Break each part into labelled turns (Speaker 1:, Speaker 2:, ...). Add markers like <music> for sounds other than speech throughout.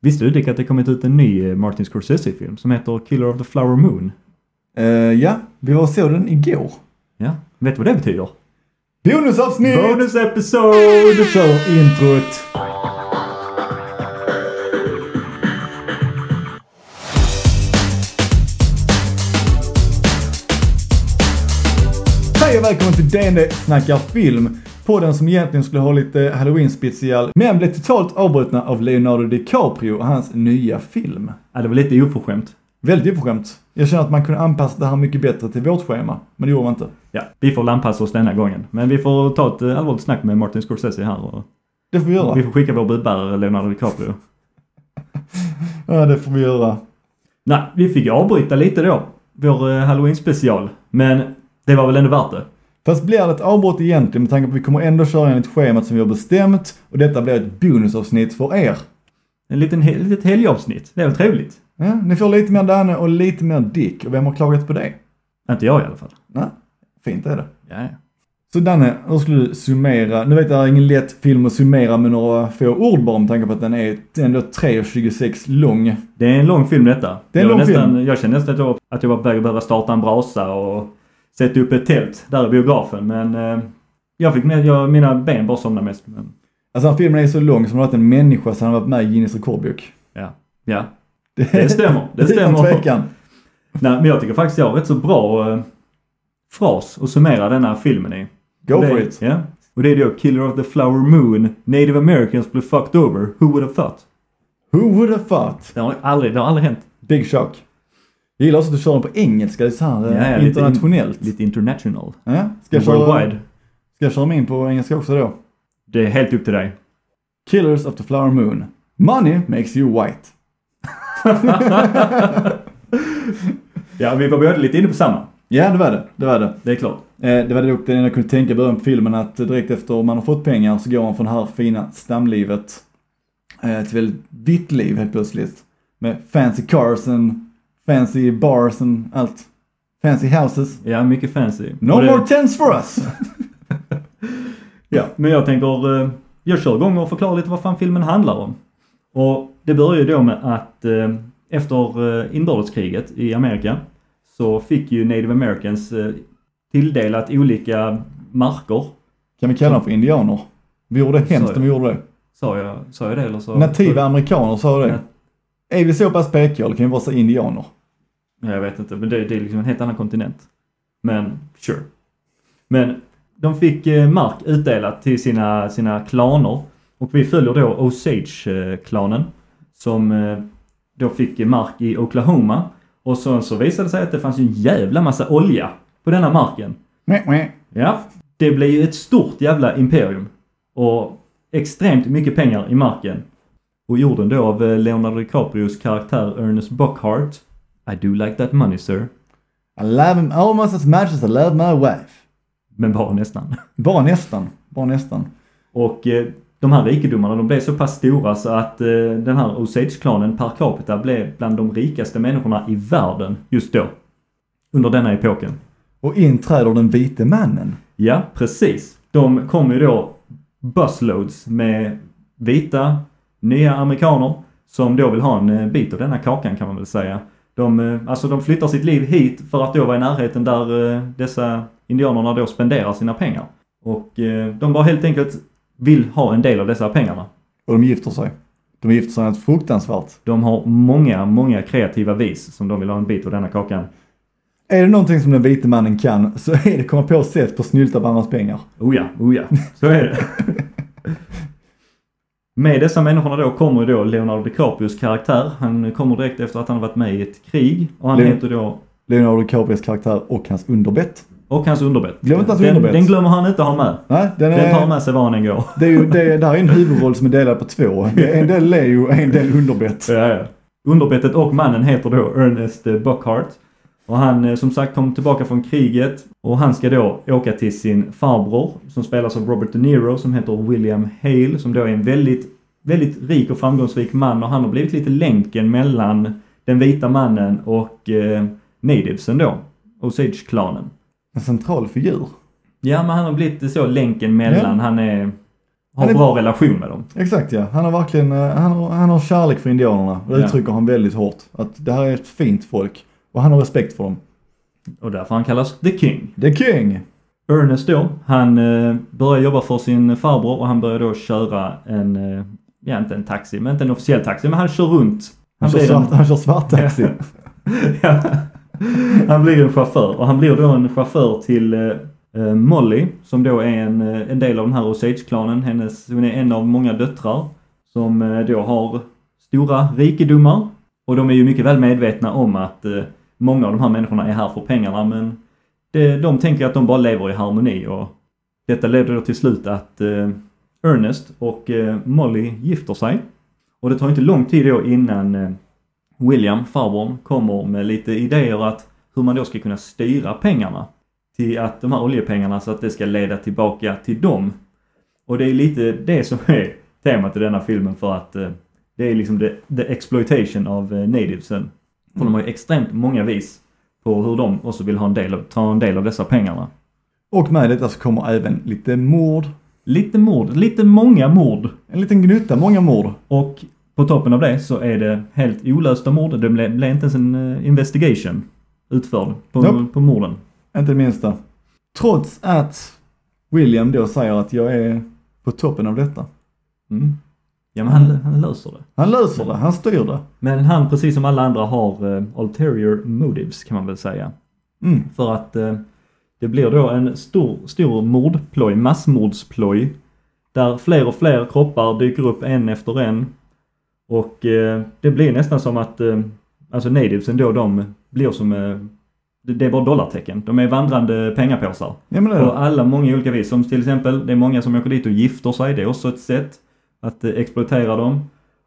Speaker 1: Visste du Dick att det kommit ut en ny eh, Martin Scorsese-film som heter Killer of the Flower Moon?
Speaker 2: Eh, ja, vi var och såg den igår.
Speaker 1: Ja. Vet du vad det betyder?
Speaker 2: Bonusavsnitt!
Speaker 1: Bonus episode!
Speaker 2: Du kör introt. Hej och välkommen till DND snackar film. Podden som egentligen skulle ha lite halloween special men blev totalt avbrutna av Leonardo DiCaprio och hans nya film.
Speaker 1: Ja, det var lite oförskämt.
Speaker 2: Väldigt oförskämt. Jag känner att man kunde anpassa det här mycket bättre till vårt schema, men det gjorde man inte.
Speaker 1: Ja, vi får väl anpassa oss denna gången. Men vi får ta ett eh, allvarligt snack med Martin Scorsese här och
Speaker 2: Det får vi göra.
Speaker 1: vi får skicka vår budbärare Leonardo DiCaprio.
Speaker 2: Ja, det får vi göra.
Speaker 1: Nej, vi fick avbryta lite då. Vår eh, halloween-special. Men det var väl ändå värt det.
Speaker 2: Fast blir det ett avbrott egentligen med tanke på att vi kommer ändå köra enligt schemat som vi har bestämt och detta blir ett bonusavsnitt för er.
Speaker 1: En liten, he- litet helgavsnitt. Det är väl trevligt?
Speaker 2: Ja, ni får lite mer Danne och lite mer Dick och vem har klagat på det?
Speaker 1: Inte jag i alla fall.
Speaker 2: Nej, fint är det.
Speaker 1: Ja, ja.
Speaker 2: Så Danne, hur skulle du summera? Nu vet jag att det är ingen lätt film att summera med några få ord bara med tanke på att den är ändå 3.26 lång. Alltså,
Speaker 1: Det är en lång film detta.
Speaker 2: Det är en
Speaker 1: jag,
Speaker 2: lång
Speaker 1: nästan, jag kände nästan att jag, var- att jag var på väg att behöva starta en brasa och sätta upp ett tält där i biografen. Men eh, jag fick med, jag, mina ben bara somnade mest. Men,
Speaker 2: Alltså den här filmen är så lång som om det varit en människa som har varit med i Guinness rekordbok.
Speaker 1: ja. ja, det
Speaker 2: <laughs>
Speaker 1: stämmer. Det
Speaker 2: Utan
Speaker 1: stämmer.
Speaker 2: tvekan.
Speaker 1: Nej, men jag tycker faktiskt jag har rätt så bra eh, fras att summera den här filmen i.
Speaker 2: Go
Speaker 1: det,
Speaker 2: for it.
Speaker 1: Ja. Och det är då Killer of the Flower Moon, Native Americans blev fucked over, who would have thought?
Speaker 2: Who would have thought?
Speaker 1: Det har aldrig, det har aldrig hänt.
Speaker 2: Big shock. Jag gillar också att du kör den på engelska, det är så här eh,
Speaker 1: Ja, ja, lite
Speaker 2: internationellt.
Speaker 1: Lite international.
Speaker 2: Ja, ska, jag köra,
Speaker 1: Worldwide.
Speaker 2: ska jag köra mig in på engelska också då?
Speaker 1: Det är helt upp till dig.
Speaker 2: Killers of the flower moon. Money makes you white.
Speaker 1: Ja, vi var båda lite inne på samma.
Speaker 2: Ja, det var det. Det var det.
Speaker 1: Det är klart.
Speaker 2: Eh, Det var det dock det enda jag kunde tänka i början på filmen att direkt efter man har fått pengar så går man från det här fina stamlivet eh, till väldigt vitt liv helt plötsligt. Med fancy cars and fancy bars and allt. Fancy houses.
Speaker 1: Ja, mycket fancy.
Speaker 2: No
Speaker 1: Och det-
Speaker 2: more tents for us!
Speaker 1: Ja, men jag tänker, eh, jag kör igång och förklarar lite vad fan filmen handlar om. Och det börjar ju då med att eh, efter eh, inbördeskriget i Amerika så fick ju Native Americans eh, tilldelat olika marker.
Speaker 2: Kan vi kalla dem för indianer? Vi gjorde det hemskt om vi gjorde det.
Speaker 1: Sa jag, sa jag det eller så?
Speaker 2: Nativa amerikaner sa det.
Speaker 1: Ja.
Speaker 2: Är vi så pass pekiga eller kan vi vara så indianer?
Speaker 1: Ja, Jag vet inte, men det, det är liksom en helt annan kontinent. Men, sure. Men de fick eh, mark utdelat till sina, sina klaner. Och vi följer då Osage-klanen. Som eh, då fick mark i Oklahoma. Och sen så visade det sig att det fanns ju en jävla massa olja på denna marken.
Speaker 2: Mäh, mäh.
Speaker 1: Ja, det blev ju ett stort jävla imperium. Och extremt mycket pengar i marken. Och jorden då av eh, Leonardo DiCaprios karaktär Ernest Buckhart. I do like that money sir.
Speaker 2: I love him Oh, almost as much as I love my wife.
Speaker 1: Men bara nästan. <laughs>
Speaker 2: Bara nästan. Bara nästan.
Speaker 1: Och eh, de här rikedomarna de blev så pass stora så att eh, den här Osage-klanen per capita blev bland de rikaste människorna i världen just då. Under denna epoken.
Speaker 2: Och inträder den vite mannen.
Speaker 1: Ja, precis. De kom ju då busloads med vita, nya amerikaner som då vill ha en eh, bit av denna kakan kan man väl säga. De, eh, alltså de flyttar sitt liv hit för att då vara i närheten där eh, dessa indianerna då spenderar sina pengar. Och eh, de bara helt enkelt vill ha en del av dessa pengarna.
Speaker 2: Och de gifter sig. De gifter sig något fruktansvärt.
Speaker 1: De har många, många kreativa vis som de vill ha en bit av denna kakan.
Speaker 2: Är det någonting som den vite mannen kan så är det komma på sätt på att snylta på andras pengar.
Speaker 1: Oh ja, oh
Speaker 2: <laughs>
Speaker 1: ja, så är det. med dessa människorna då kommer ju då Leonardo DiCaprios karaktär. Han kommer direkt efter att han har varit med i ett krig och han
Speaker 2: Leon-
Speaker 1: heter då
Speaker 2: Leonardo DiCaprios karaktär och hans underbett.
Speaker 1: och hans underbett.
Speaker 2: Glöm inte hans
Speaker 1: den,
Speaker 2: underbett.
Speaker 1: Den glömmer han inte att ha med.
Speaker 2: Nej, den
Speaker 1: Den tar han
Speaker 2: är...
Speaker 1: med sig var han än går.
Speaker 2: Det, är ju, det, det här är en huvudroll som är delad på två. Det är En del Leo och en del underbett.
Speaker 1: Ja, ja. Underbettet och mannen heter då Ernest eh, Buckhart. Och han eh, som sagt kom tillbaka från kriget och han ska då åka till sin farbror som spelas av Robert De Niro som heter William Hale som då är en väldigt, väldigt rik och framgångsrik man och han har blivit lite länken mellan den vita mannen och eh, nativesen då, Osage-klanen.
Speaker 2: En central figur.
Speaker 1: Ja, men han har blivit så länken mellan, han är... har
Speaker 2: Han är-
Speaker 1: bra relation med dem.
Speaker 2: Exakt ja, han har verkligen, eh, han har, han har kärlek för indianerna. Det
Speaker 1: Ja.
Speaker 2: uttrycker han väldigt hårt. Att det här är ett fint folk. Och han har respekt för dem.
Speaker 1: Och därför han kallas The King.
Speaker 2: The King!
Speaker 1: Ernest då, han eh, börjar jobba för sin farbror och han börjar då köra en, eh, ja inte en taxi, men inte en officiell taxi, men han kör runt.
Speaker 2: Han, kör,
Speaker 1: blir en-
Speaker 2: svart, han kör svart taxi.
Speaker 1: Ja. Han blir en chaufför och han blir då en chaufför till eh, eh, Molly som då är en, eh, en del av den här Osage-klanen. Hennes, hon är en av många döttrar som eh, då har stora rikedomar. Och de är ju mycket väl medvetna om att eh, många av de här människorna är här för pengarna men det, de tänker att de bara lever i harmoni och detta leder då till slut att eh, Ernest och eh, Molly gifter sig. Och det tar inte lång tid då innan eh, William, farbrorn, kommer med lite idéer att hur man då ska kunna styra pengarna till att de här oljepengarna så att det ska leda tillbaka till dem. Och det är lite det som är temat i denna filmen för att eh, det är liksom the, the exploitation av eh, nativesen. För de har ju extremt många vis på hur de också vill ha en del av, ta en del av dessa pengarna.
Speaker 2: Och med detta så kommer även lite mord.
Speaker 1: Lite mord, lite många mord.
Speaker 2: En liten gnutta, många mord.
Speaker 1: Och på toppen av det så är det helt olösta mord. Det blev, blev inte ens en eh, investigation utförd på,
Speaker 2: Nope.
Speaker 1: på morden.
Speaker 2: Inte det minsta. Trots att William då säger att jag är på toppen av detta.
Speaker 1: Mm. Ja men han, han löser det.
Speaker 2: Han löser det, han styr det.
Speaker 1: Men han precis som alla andra har eh, ulterior motives kan man väl säga.
Speaker 2: Mm.
Speaker 1: För att eh, det blir då en stor, stor mordploj, massmordsploj. Där fler och fler kroppar dyker upp en efter en. Och eh, det blir nästan som att, eh, alltså nativesen då de blir som, eh, det, det är bara dollartecken. De är vandrande pengapåsar.
Speaker 2: Ja men det är
Speaker 1: På
Speaker 2: det.
Speaker 1: alla många olika vis. Som till exempel, det är många som åker dit och gifter sig. Det är också ett sätt att eh, exploatera dem.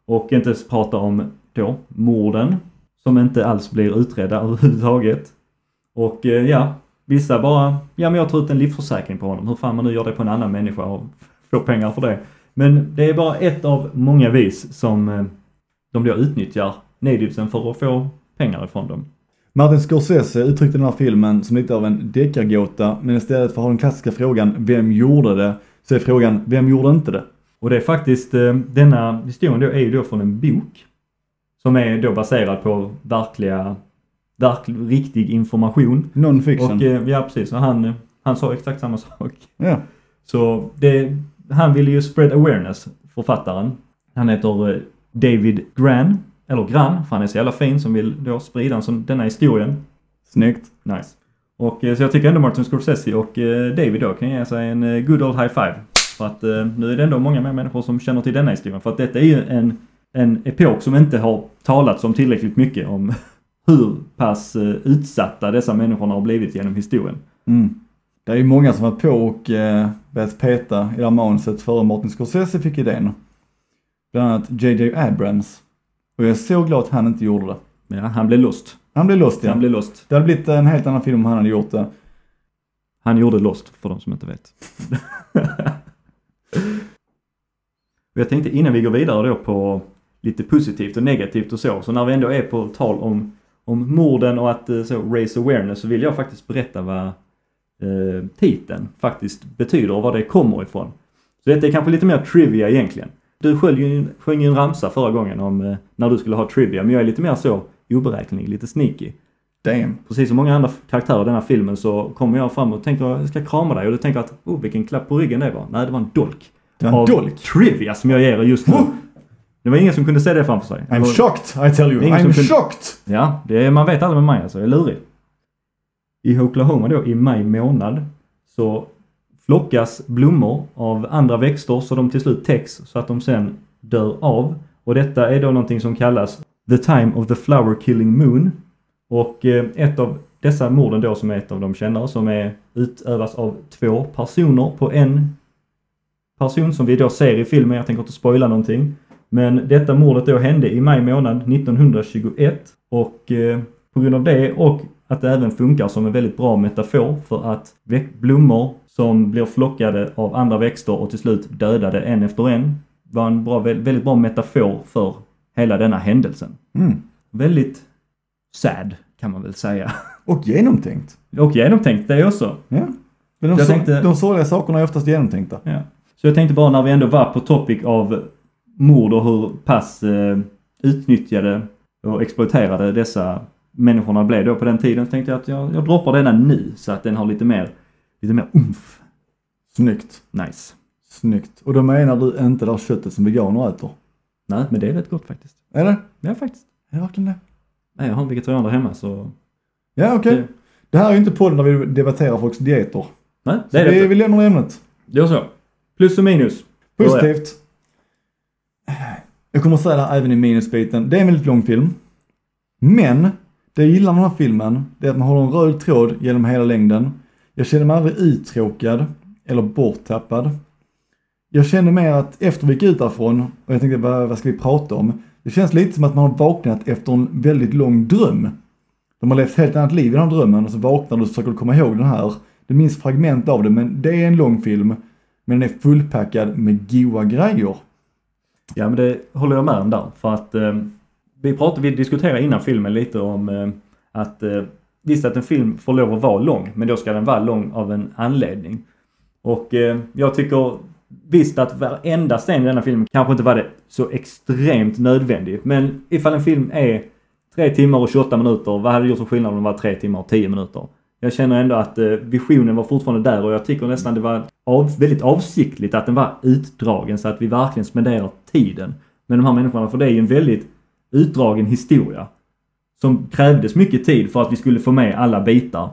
Speaker 1: Och inte ens prata om då morden. Som inte alls blir utredda <laughs> överhuvudtaget. Och eh, ja, vissa bara, ja men jag tar ut en livförsäkring på honom. Hur fan man nu gör det på en annan människa och <laughs> får pengar för det. Men det är bara ett av många vis som eh, de då utnyttjar nativesen för att få pengar ifrån dem.
Speaker 2: Martin Scorsese uttryckte den här filmen som lite av en deckargåta, men istället för att ha den klassiska frågan Vem gjorde det? Så är frågan Vem gjorde inte det?
Speaker 1: Och det är faktiskt, eh, denna historien då är ju då från en bok. Som är då baserad på verkliga, verk, riktig information.
Speaker 2: Non-fiction.
Speaker 1: Och eh, ja precis, och han, eh, han sa exakt samma <laughs> sak.
Speaker 2: ja.
Speaker 1: Så det, han ville ju spread awareness, författaren. Han heter eh, David Gran, eller Gran, för han är så jävla fin som vill då sprida en sån, denna historien.
Speaker 2: Snyggt.
Speaker 1: Nice. Och eh, så jag tycker ändå Martin Scorsese och eh, David då kan ge sig en eh, good old high five. För att eh, nu är det ändå många mer människor som känner till denna historien. För att detta är ju en, en epok som inte har talats om tillräckligt mycket om <laughs> hur pass eh, utsatta dessa människorna har blivit genom historien.
Speaker 2: Mm. Det är ju många som var på och eh, börjat peta i det här manuset före Martin Scorsese fick idén. Bland annat JJ Abrams. Och jag är så glad att han inte gjorde det.
Speaker 1: Ja, han blev lost.
Speaker 2: Han blev lost
Speaker 1: Han
Speaker 2: igen.
Speaker 1: blev lost.
Speaker 2: Det hade blivit en helt annan film om han hade gjort det.
Speaker 1: Han gjorde lost, för de som inte vet. Och jag tänkte innan vi går vidare då på lite positivt och negativt och så. Så när vi ändå är på tal om, om morden och att eh, så raise awareness så vill jag faktiskt berätta vad eh, titeln faktiskt betyder och var det kommer ifrån. Så detta är kanske lite mer trivia egentligen. Du sjöng ju, sjöng ju en ramsa förra gången om eh, när du skulle ha trivia men jag är lite mer så oberäknelig, lite sneaky
Speaker 2: Damn.
Speaker 1: precis som många andra karaktärer i den här filmen så kommer jag fram och tänker jag ska krama dig och du tänker att oh vilken klapp på ryggen det var. Nej det var en dolk.
Speaker 2: Det var en
Speaker 1: Av
Speaker 2: dolk.
Speaker 1: Trivia som jag ger er just nu. Det var ingen som kunde se det framför sig. Alltså, Det
Speaker 2: I'm
Speaker 1: var-
Speaker 2: shocked I tell you.
Speaker 1: Det är ingen som
Speaker 2: I'm
Speaker 1: kunde-
Speaker 2: shocked!
Speaker 1: Ja, det är, man vet aldrig med mig alltså. Jag är lurig. I Oklahoma då i maj månad så flockas blommor av andra växter så de till slut täcks så att de sen dör av. Och detta är då någonting som kallas The Time of the Flower Killing Moon. Och eh, ett av dessa morden då som är ett av de kändare som är utövas av två personer på en person som vi då ser i filmen. Jag tänker inte spoila någonting. Men detta mordet då hände i maj månad 1921 och eh, på grund av det och att det även funkar som en väldigt bra metafor för att vä- blommor som blir flockade av andra växter och till slut dödade en efter en var en bra, vä- väldigt bra metafor för hela denna händelsen.
Speaker 2: Mm.
Speaker 1: Väldigt sad kan man väl säga. <laughs>
Speaker 2: Och genomtänkt.
Speaker 1: Och genomtänkt det också.
Speaker 2: Ja. Men de,
Speaker 1: Jag
Speaker 2: så,
Speaker 1: tänkte-
Speaker 2: de sorgliga sakerna är oftast genomtänkta.
Speaker 1: Ja. Så jag tänkte bara när vi ändå var på topic av mord och hur pass eh, utnyttjade och exploaterade dessa människorna blev då på den tiden. Så tänkte jag att jag, jag droppar denna nu så att den har lite mer, lite mer umf.
Speaker 2: Snyggt.
Speaker 1: Nice.
Speaker 2: Snyggt. Och då menar du inte det här köttet som veganer äter?
Speaker 1: Nej, men det är rätt gott faktiskt.
Speaker 2: Är det?
Speaker 1: Ja, faktiskt.
Speaker 2: Är det verkligen det?
Speaker 1: Nej, jag har en vegetarian där hemma så...
Speaker 2: Ja, okej.
Speaker 1: Det-
Speaker 2: Det här är ju inte podden där vi debatterar folks dieter.
Speaker 1: Nej,
Speaker 2: Så
Speaker 1: det är det
Speaker 2: vi,
Speaker 1: inte.
Speaker 2: vi lämnar ämnet.
Speaker 1: Det är så. Plus och minus.
Speaker 2: Positivt. Jag kommer att säga det här även i minusbiten. Det är en väldigt lång film. Men, det jag gillar med den här filmen, det är att man har en röd tråd genom hela längden. Jag känner mig aldrig uttråkad eller borttappad. Jag känner mer att efter vi gick ut därifrån och jag tänkte vad, vad ska vi prata om? Det känns lite som att man har vaknat efter en väldigt lång dröm. De har levt ett helt annat liv i den här drömmen och så vaknar du och försöker komma ihåg den här. Du minns fragment av det men det är en lång film. Men den är fullpackad med goa grejer.
Speaker 1: Ja men det håller jag med om där. För att eh, vi, pratade, vi diskuterade innan filmen lite om eh, att eh, visst att en film får lov att vara lång men då ska den vara lång av en anledning. Och eh, jag tycker visst att varenda scen i denna film kanske inte var det så extremt nödvändig. Men ifall en film är 3 timmar och 28 minuter, vad hade det gjort för skillnad om den var 3 timmar och 10 minuter? Jag känner ändå att eh, visionen var fortfarande där och jag tycker nästan det var av, väldigt avsiktligt att den var utdragen så att vi verkligen spenderar tiden med de här människorna. För det är ju en väldigt utdragen historia. Som krävdes mycket tid för att vi skulle få med alla bitar.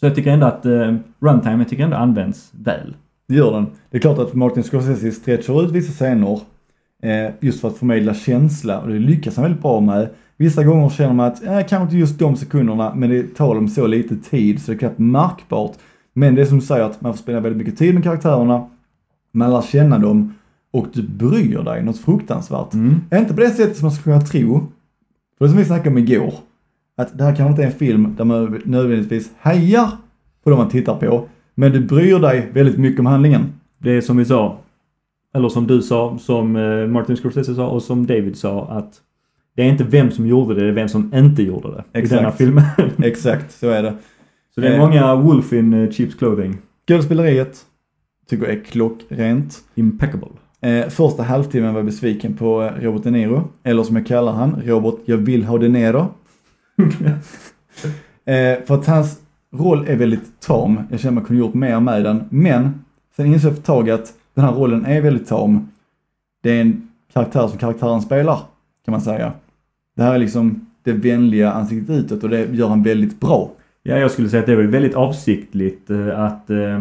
Speaker 1: Så jag tycker ändå att eh, runtime, jag tycker ändå används väl.
Speaker 2: Det gör den. Det är klart att Martin Scorsese stretchar ut vissa scener eh, just för att förmedla känsla och det lyckas han väldigt bra med. Vissa gånger känner man att, eh, kanske inte just de sekunderna, men det tar om så lite tid så det är knappt märkbart. Men det är som du säger att man får spendera väldigt mycket tid med karaktärerna, man lär känna dem och du bryr dig något fruktansvärt. Inte på det sättet som man skulle kunna tro. För det som vi snackade om igår, att det här kanske inte är en film där man nödvändigtvis hejar på de man tittar på, men du bryr dig väldigt mycket om handlingen.
Speaker 1: Det är som vi sa, eller som du sa, som eh, Martin Scorsese sa och som David sa att det är inte vem som gjorde det, det är vem som inte gjorde det i denna
Speaker 2: Exakt.
Speaker 1: filmen.
Speaker 2: Exakt, så är det.
Speaker 1: <laughs> Så det är
Speaker 2: Eh.
Speaker 1: många Wolf in eh, Cheap Clothing.
Speaker 2: Skådespeleriet tycker jag är klockrent.
Speaker 1: Impeccable.
Speaker 2: Eh, första halvtimmen var jag besviken på eh, Robert De Niro, eller som jag kallar han, Robert Jag vill ha De Niro. eh, för att hans roll är väldigt tam. Jag känner man kunde gjort mer med den. Men sen insåg jag för ett tag att den här rollen är väldigt tam. Det är en karaktär som karaktären spelar, kan man säga. Det här är liksom det vänliga ansiktet utåt och det gör han väldigt bra.
Speaker 1: Ja, jag skulle säga att det är väl väldigt avsiktligt eh, att eh,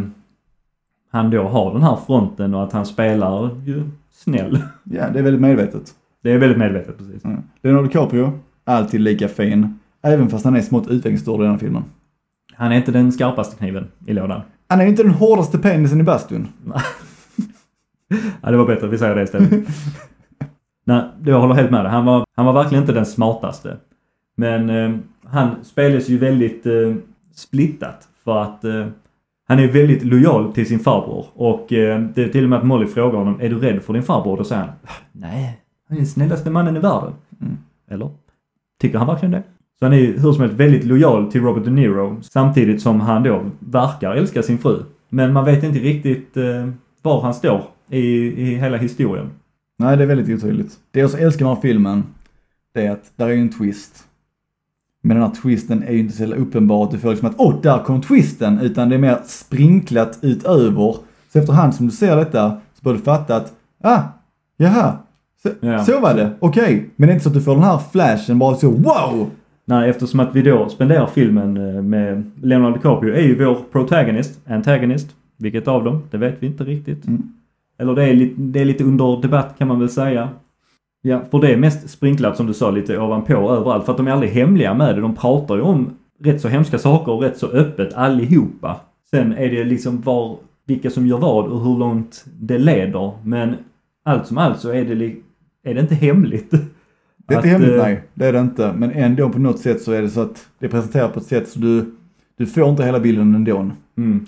Speaker 1: han då har den här fronten och att han spelar ju snäll. <laughs>
Speaker 2: Ja, det är väldigt medvetet.
Speaker 1: Det är väldigt medvetet precis.
Speaker 2: Mm. Leonardo DiCaprio, alltid lika fin. Även fast han är smått utvecklingsstörd i den här filmen.
Speaker 1: Han är inte den skarpaste kniven i lådan.
Speaker 2: Han är inte den hårdaste penisen i bastun.
Speaker 1: Ja, det var bättre att vi säger det istället. Nej, jag håller helt med dig. Han var, han var verkligen inte den smartaste. Men eh, han spelas ju väldigt eh, splittat för att eh, han är väldigt lojal till sin farbror och eh, det är till och med att Molly frågar honom, är du rädd för din farbror? Då säger han, nej, han är den snällaste mannen i världen.
Speaker 2: Mm.
Speaker 1: Eller? Tycker han verkligen det? Så han är ju hur som helst väldigt lojal till Robert De Niro samtidigt som han då verkar älska sin fru. Men man vet inte riktigt eh, var han står i, i hela historien.
Speaker 2: Nej, det är väldigt otydligt. Det jag så älskar med den här filmen, det är att där är ju en twist. Men den här twisten är ju inte så jävla uppenbar att du får liksom att åh, där kom twisten! Utan det är mer sprinklat utöver. Så efterhand som du ser detta så börjar du fatta att, ah, jaha, så,
Speaker 1: Ja.
Speaker 2: så var det, okej. Men det är inte så att du får den här flashen bara så wow!
Speaker 1: Nej, eftersom att vi då spenderar filmen eh, med Leonardo DiCaprio är ju vår protagonist, antagonist. Vilket av dem? Det vet vi inte riktigt.
Speaker 2: Mm.
Speaker 1: Eller det är, lite, det är lite under debatt kan man väl säga. Ja, för det är mest sprinklat som du sa lite ovanpå överallt. För att de är aldrig hemliga med det. De pratar ju om rätt så hemska saker och rätt så öppet allihopa. Sen är det liksom var, vilka som gör vad och hur långt det leder. Men allt som allt så är det, li- är det inte hemligt.
Speaker 2: Det är inte
Speaker 1: Att,
Speaker 2: hemligt,
Speaker 1: eh,
Speaker 2: nej. Det är det inte. Men ändå på något sätt så är det så att det är presenterat på ett sätt så du, du får inte hela bilden ändå.
Speaker 1: Mm.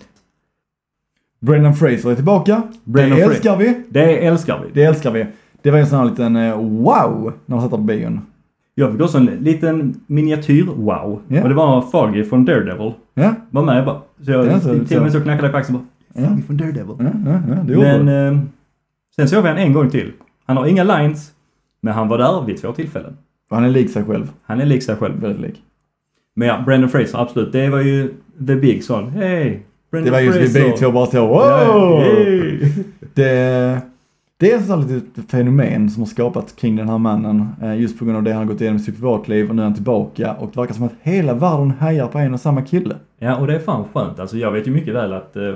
Speaker 2: Brendan Fraser är tillbaka.
Speaker 1: Brendan
Speaker 2: det
Speaker 1: Fra-
Speaker 2: älskar vi.
Speaker 1: Det älskar vi.
Speaker 2: Det älskar vi. Det var en sån här liten eh, wow när man satt där på bion.
Speaker 1: Jag fick också en liten miniatyr-wow.
Speaker 2: Ja.
Speaker 1: Och det var Foggy från Daredevil.
Speaker 2: Ja,
Speaker 1: Var med bara. Så
Speaker 2: Det är
Speaker 1: jag
Speaker 2: så-
Speaker 1: till och med så knackade jag på axeln och bara
Speaker 2: Ja.
Speaker 1: Foggy från Daredevil.
Speaker 2: ja, ja, ja det gjorde
Speaker 1: Men
Speaker 2: du.
Speaker 1: eh, Sen såg vi han en gång till. Han har inga lines, men han var där vid två tillfällen.
Speaker 2: Och han är lik sig själv.
Speaker 1: Han är lik sig själv.
Speaker 2: Väldigt lik.
Speaker 1: Men ja, Brandon Fraser, absolut. Det var ju the big sån. Hey!
Speaker 2: Det
Speaker 1: Brandon
Speaker 2: var just vi
Speaker 1: Fraser.
Speaker 2: bägge två bara så wow!
Speaker 1: Ja, hey.
Speaker 2: Det, det är ett sånt litet fenomen som har skapats kring den här mannen. eh, Just på grund av det han har gått igenom i sitt privatliv och nu är han tillbaka. Och det verkar som att hela världen hejar på en och samma kille.
Speaker 1: Ja, och det är fan skönt. Alltså jag vet ju mycket väl att eh,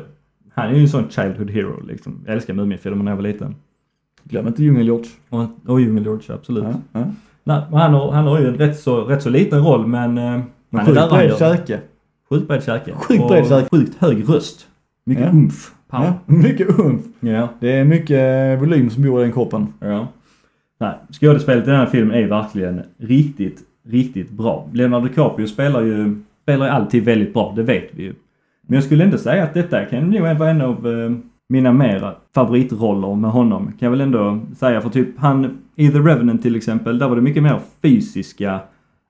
Speaker 1: han är ju en sån Childhood Hero liksom. Jag älskar Muminfilmerna när jag var liten.
Speaker 2: Glöm inte Djungel-George.
Speaker 1: Och, och Djungelgeorge, absolut.
Speaker 2: Ja, ja.
Speaker 1: Nej, men han, har, han har ju en rätt så, rätt så liten roll men... eh,
Speaker 2: Men
Speaker 1: han är där
Speaker 2: Sjukt
Speaker 1: han
Speaker 2: bred
Speaker 1: gör.
Speaker 2: käke.
Speaker 1: Sjukt bred käke.
Speaker 2: Sjukt bred
Speaker 1: Och
Speaker 2: käke.
Speaker 1: Sjukt hög röst. Mycket
Speaker 2: Ja.
Speaker 1: umf. Power.
Speaker 2: Ja, <laughs> mycket umf.
Speaker 1: Ja.
Speaker 2: Det är mycket eh, volym som bor i den kroppen.
Speaker 1: Ja. Nej, skådespelet i den här filmen är verkligen riktigt, riktigt bra. Leonardo DiCaprio spelar ju, spelar ju alltid väldigt bra, det vet vi ju. Men jag skulle ändå säga att detta kan nog vara en av eh, mina mera favoritroller med honom. Kan jag väl ändå säga, för typ han, i The Revenant till exempel, där var det mycket mer fysiska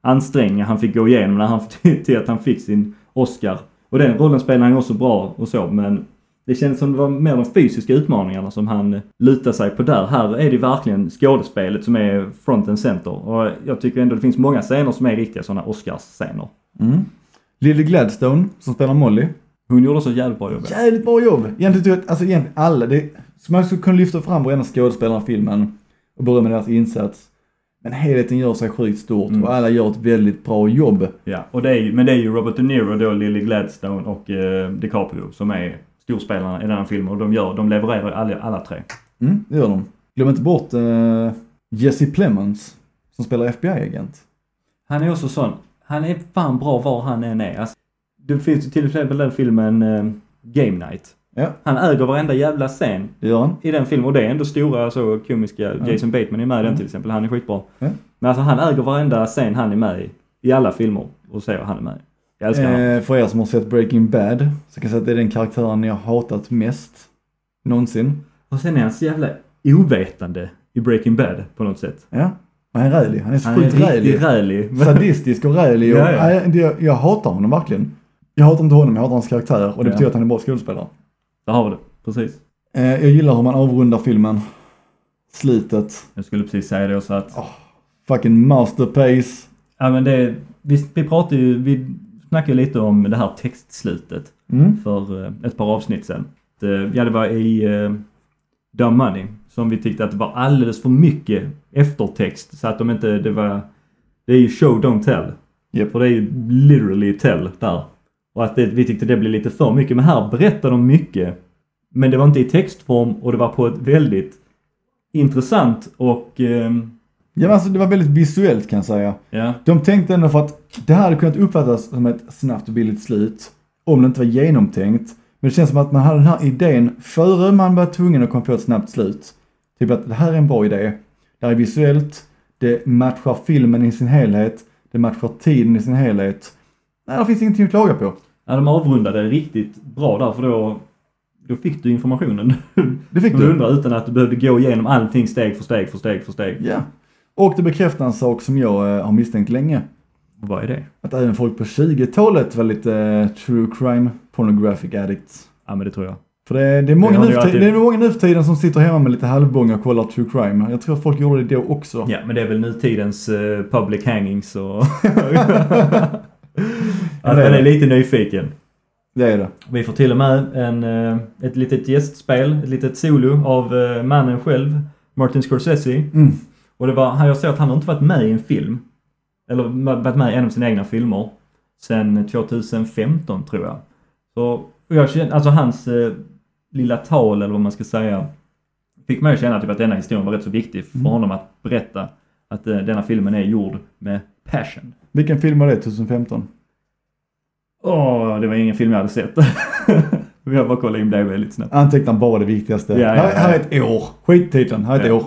Speaker 1: ansträngningar han fick gå igenom när han, <laughs> till att han fick sin Oscar. Och den rollen spelade han ju också bra och så, men det kändes som det var mer de fysiska utmaningarna som han lutar sig på där. Här är det verkligen skådespelet som är front and center. Och jag tycker ändå det finns många scener som är riktiga sådana Oscars-scener.
Speaker 2: Mm. Lily Gladstone, som spelar Molly.
Speaker 1: Hon gjorde så jävligt bra jobb.
Speaker 2: Jävligt bra jobb! Egentligen tycker jag, alltså egentligen alla, det, så man skulle kunna lyfta fram varenda skådespelare i filmen och berömma deras insats. Men helheten gör sig sjukt stort och alla gör ett väldigt bra jobb.
Speaker 1: Ja, och det är, ju- men det är ju Robert De Niro då, Lily Gladstone och eh, DiCaprio som är storspelarna i den här filmen. Och de, gör, de levererar alla, alla tre.
Speaker 2: Mm, det gör de. Glöm inte bort eh, Jesse Plemons, som spelar FBI-agent.
Speaker 1: Han är också sån. Han är fan bra var han än är. Alltså, det finns ju till exempel den filmen eh, Game Night.
Speaker 2: Ja,
Speaker 1: Han äger varenda jävla scen.
Speaker 2: det gör han.
Speaker 1: i den filmen. Och det är ändå stora så komiska. Jason Bateman är med i den till exempel. Han är skitbra.
Speaker 2: Mm. Ja.
Speaker 1: Men alltså han äger varenda scen han är med i. I alla filmer. Och så han är med i. Jag älskar honom.
Speaker 2: Eh, för er som har sett Breaking Bad, så kan jag säga att det är den karaktären jag hatat mest. Någonsin.
Speaker 1: Och sen är han så jävla ovetande i Breaking Bad på något sätt.
Speaker 2: Ja. Men han är rälig. Han är så
Speaker 1: Han är
Speaker 2: sjukt rälig.
Speaker 1: riktigt rälig. <laughs> Men-
Speaker 2: sadistisk och rälig. Och,
Speaker 1: Ja, ja.
Speaker 2: Nej, det, jag hatar honom verkligen. Jag hatar inte honom, jag hatar hans karaktär och det
Speaker 1: Ja.
Speaker 2: betyder att han är en bra skådespelare.
Speaker 1: Där har vi det. Precis.
Speaker 2: Eh, jag gillar hur man avrundar filmen. Slitet.
Speaker 1: Jag skulle precis säga det också att.
Speaker 2: Fucking masterpiece.
Speaker 1: Ja men det. Vi, vi pratar ju. Vi snackade ju lite om det här textslutet.
Speaker 2: Mm.
Speaker 1: för eh, ett par avsnitt sedan. Eh, Ja, det var i eh, Dumb Money som vi tyckte att det var alldeles för mycket eftertext så att de inte, det var... Det är ju show, don't tell.
Speaker 2: Japp.
Speaker 1: Och det är ju literally tell där. Och att det, vi tyckte det blev lite för mycket. Men här berättar de mycket. Men det var inte i textform och det var på ett väldigt intressant och... ehm,
Speaker 2: Ja, men alltså, det var väldigt visuellt kan jag säga.
Speaker 1: ja.
Speaker 2: De tänkte ändå för att det här hade kunnat uppfattas som ett snabbt och billigt slut. Om det inte var genomtänkt. Men det känns som att man hade den här idén före man var tvungen att komma på ett snabbt slut. Typ att det här är en bra idé. Det här är visuellt. Det matchar filmen i sin helhet. Det matchar tiden i sin helhet. Nej, det finns ingenting att klaga på.
Speaker 1: ja, de avrundade riktigt bra där för då... Då fick du informationen.
Speaker 2: Det fick
Speaker 1: Som du
Speaker 2: du.
Speaker 1: undrar utan att du behövde gå igenom allting steg för steg för steg för steg.
Speaker 2: Ja. Och det bekräftar en sak som jag eh, har misstänkt länge.
Speaker 1: Vad är det?
Speaker 2: Att även folk på 20-talet var lite eh, true crime pornographic addicts.
Speaker 1: Ja men det tror jag.
Speaker 2: För det, det, är många
Speaker 1: Det har
Speaker 2: nu
Speaker 1: det
Speaker 2: för
Speaker 1: alltid-
Speaker 2: tiden, det är många nu för tiden som sitter hemma med lite halvbånga och kollar true crime. Jag tror att folk gjorde det då också.
Speaker 1: Ja men det är väl nutidens eh, public hangings <laughs> och...
Speaker 2: Ja,
Speaker 1: att
Speaker 2: det är
Speaker 1: man
Speaker 2: det.
Speaker 1: är lite nyfiken.
Speaker 2: Det är det.
Speaker 1: Vi får till och med en, eh, ett litet gästspel, ett litet solo av eh, mannen själv, Martin Scorsese.
Speaker 2: Mm.
Speaker 1: Och det var, han- jag såg att han har inte varit med i en film. Eller varit med i en av sina egna filmer. Sen 2015 tror jag. Så, och jag känner, alltså hans eh, lilla tal eller vad man ska säga. Fick mig att känna typ att denna historien var rätt så viktig för honom att berätta. Att eh, denna filmen är gjord med passion.
Speaker 2: Vilken film var det 2015?
Speaker 1: Åh, det var ingen film jag hade sett. <laughs> jag bara kollade in det väldigt snabbt.
Speaker 2: Anteckna bara det viktigaste.
Speaker 1: Ja, ja,
Speaker 2: här, här är
Speaker 1: ja.
Speaker 2: ett år. Skit i titeln, här är ett
Speaker 1: Ja.
Speaker 2: år.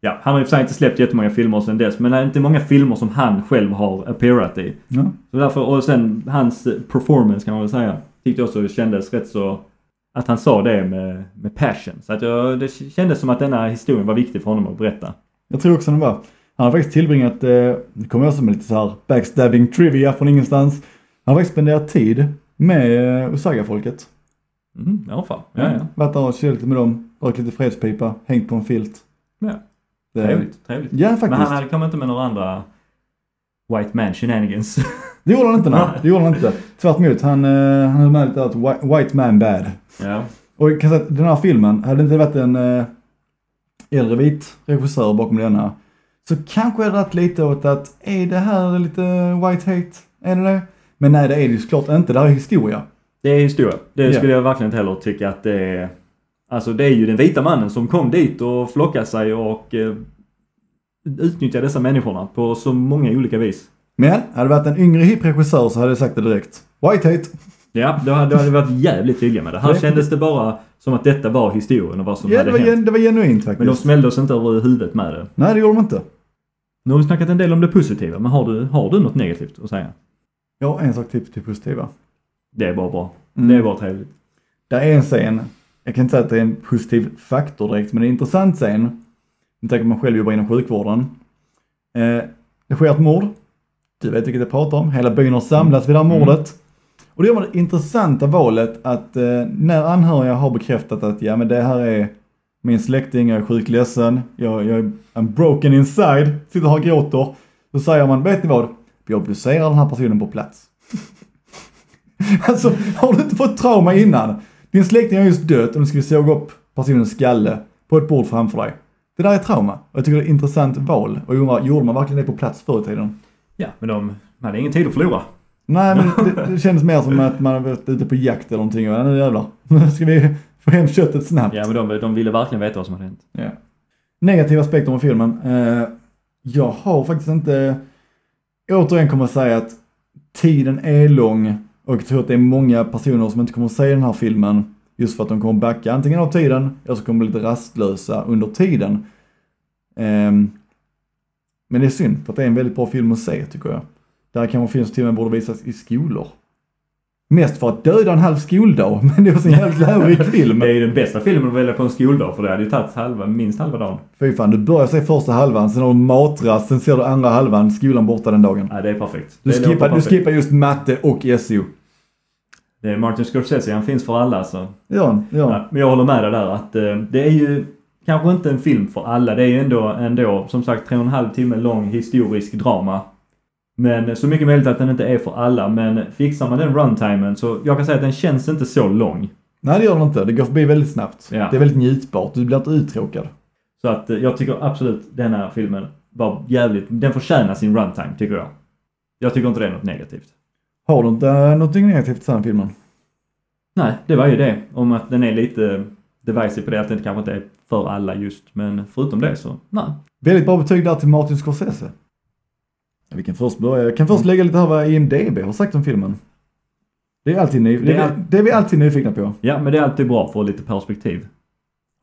Speaker 1: Ja, han har i och för sig inte släppt jättemånga filmer sedan dess, men det är inte många filmer som han själv har appearat i.
Speaker 2: Ja.
Speaker 1: Så därför, och sen hans eh, performance kan man väl säga, tyckte jag också kändes rätt så... Att han sa det med, med passion. Så att jag, det kändes som att denna historien var viktig för honom att berätta.
Speaker 2: Jag tror också den var. Han har faktiskt tillbringat, eh, det kommer jag som lite så här backstabbing trivia från ingenstans. Han har faktiskt spenderat tid med eh, Osaga-folket.
Speaker 1: Mm, i alla fall. Ja, ja.
Speaker 2: Varit där och chillat lite med dem. rökt lite fredspipa, hängt på en filt.
Speaker 1: Ja.
Speaker 2: Det-
Speaker 1: Trevligt, trevligt.
Speaker 2: Ja, faktiskt.
Speaker 1: Men han hade kommit inte med några andra White Man shenanigans.
Speaker 2: Det gjorde han inte, nej. Det gjorde han inte. Tvärtom, han, eh, han höll med lite att whi- White Man Bad.
Speaker 1: ja.
Speaker 2: Och jag kan säga att den här filmen, hade det inte varit en eh, äldre vit regissör bakom denna, så kanske jag hade varit lite åt att, är det här lite white hate? Är det det? Men nej, det är det ju såklart inte. Det här är historia.
Speaker 1: Det är historia. Det
Speaker 2: Ja.
Speaker 1: skulle jag verkligen inte heller tycka att det är. Alltså det är ju den vita mannen som kom dit och flockade sig och eh, utnyttjade dessa människorna på så många olika vis.
Speaker 2: Men, hade det varit en yngre hipp regissör så hade jag sagt det direkt. White hate!
Speaker 1: Ja, då hade då hade vi varit jävligt tydliga med det. Här
Speaker 2: Ja.
Speaker 1: kändes det bara som att detta var historien och vad som
Speaker 2: Ja, det
Speaker 1: hade
Speaker 2: var,
Speaker 1: hänt.
Speaker 2: gen- det var genuint faktiskt.
Speaker 1: Men de smällde oss inte över huvudet med det.
Speaker 2: Nej, det gjorde de inte.
Speaker 1: Nu har vi snackat en del om det positiva, men har du, har du något negativt att säga?
Speaker 2: Jag har en sak till till positiva.
Speaker 1: Det är bara bra.
Speaker 2: Mm.
Speaker 1: Det är bara trevligt.
Speaker 2: Där är en scen, jag kan inte säga att det är en positiv faktor direkt, men det är en intressant scen. Med tanke på att man själv jobbar inom sjukvården. Eh, det sker ett mord. Du vet vilket jag pratar om. Hela byn har samlats vid det här mordet. Och då gör man det intressanta valet att eh, när anhöriga har bekräftat att ja men det här är min släkting, jag är sjukt ledsen, jag, jag är I'm broken inside, sitter här och gråter. Så säger man, vet ni vad? Vi obducerar den här personen på plats. Alltså, har du inte fått trauma innan? Din släkting har just dött och nu ska vi såga upp personens skalle på ett bord framför dig. Det där är trauma. Och jag tycker det är ett intressant val. Och jag undrar, gjorde man verkligen det på plats förr i tiden?
Speaker 1: Ja, men de de hade ingen tid att förlora.
Speaker 2: Nej, men det, det kändes mer som att man var ute på jakt eller någonting. Och, nu jävlar, <laughs> nu ska vi få hem köttet snabbt.
Speaker 1: Ja, men de, de ville verkligen veta vad som hade hänt.
Speaker 2: Ja. Negativa aspekter med filmen. Eh, jag har faktiskt inte... Återigen kommer jag säga att tiden är lång och jag tror att det är många personer som inte kommer att se den här filmen just för att de kommer backa antingen av tiden eller så kommer de bli lite rastlösa under tiden. Ehm, men det är synd för att det är en väldigt bra film att se tycker jag. Det här kanske en film som till och med borde visas i skolor. Mest för att döda en halv skoldag, <laughs> men det var en jävligt lärorik film.
Speaker 1: Det är ju den bästa filmen att välja på en skoldag för det hade ju tagit halva, minst halva dagen.
Speaker 2: Fy fan, du börjar se första halvan, sen har du matrast, sen ser du andra halvan, skolan borta den dagen.
Speaker 1: Ja, det är perfekt.
Speaker 2: Du
Speaker 1: det låter
Speaker 2: skippar, du
Speaker 1: perfekt.
Speaker 2: skippar just matte och E SO.
Speaker 1: Det är Martin Scorsese, han finns för alla så.
Speaker 2: Ja, han, ja. han.
Speaker 1: Ja, men jag håller med dig där att eh, det är ju kanske inte en film för alla. Det är ju ändå, ändå som sagt, tre och en halv timme lång historisk drama. Men så mycket möjligt att den inte är för alla, men fixar man den runtimen så jag kan säga att den känns inte så lång.
Speaker 2: Nej, det gör den inte. Det går förbi väldigt snabbt.
Speaker 1: Ja.
Speaker 2: Det är väldigt njutbart. Du blir inte uttråkad.
Speaker 1: Så att eh, jag tycker absolut den här filmen var jävligt, den förtjänar sin runtime tycker jag. Jag tycker inte det är något negativt.
Speaker 2: Har du inte eh, någonting negativt till den här filmen?
Speaker 1: Nej, det var ju det. Om att den är lite divisive på det, att den kanske inte är för alla just. Men förutom det så, nej.
Speaker 2: Väldigt bra betyg där till Martin Scorsese. Ja, vi kan först börja. Jag kan
Speaker 1: Mm.
Speaker 2: först lägga lite här vad IMDB har sagt om filmen. Det är, alltid ny... det,
Speaker 1: Det är-
Speaker 2: är... det är vi alltid nyfikna på.
Speaker 1: Ja, men det är alltid bra för lite perspektiv.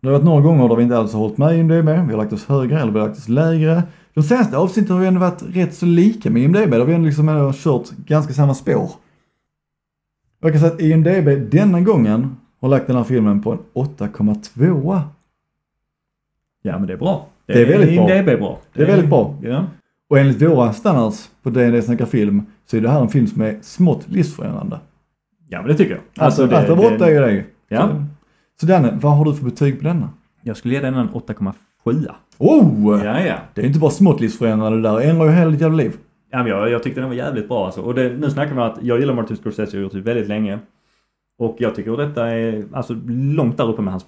Speaker 2: Det har varit några gånger där vi inte alls har hållit med IMDB. Vi har lagt oss högre eller vi har lagt oss lägre. De senaste avsnitten har vi ändå varit rätt så lika med IMDB. Där har vi ändå liksom ändå kört ganska samma spår. Och Jag kan säga att IMDB denna gången har lagt den här filmen på en 8,2.
Speaker 1: Ja, men det är bra. Det,
Speaker 2: är väldigt bra.
Speaker 1: IMDb är bra.
Speaker 2: Det är väldigt bra.
Speaker 1: Ja.
Speaker 2: Och enligt våra standards på D&D Snackar Film så är det här en film som är smått livsförändrande.
Speaker 1: ja, men det tycker jag.
Speaker 2: Alltså, allt där borta är ju det.
Speaker 1: Ja.
Speaker 2: Så, så Danne, vad har du för betyg på denna?
Speaker 1: Jag skulle ge den en 8,7.
Speaker 2: Oh!
Speaker 1: Ja, ja.
Speaker 2: Det är inte bara smått livsförändrande det där, det ändrar ju hela ditt jävla liv.
Speaker 1: Ja, men jag, jag tyckte den var jävligt bra alltså. Och det, nu snackar vi om att jag gillar Martin Scorsese och gjort det väldigt länge. Och jag tycker detta är, alltså långt där uppe med hans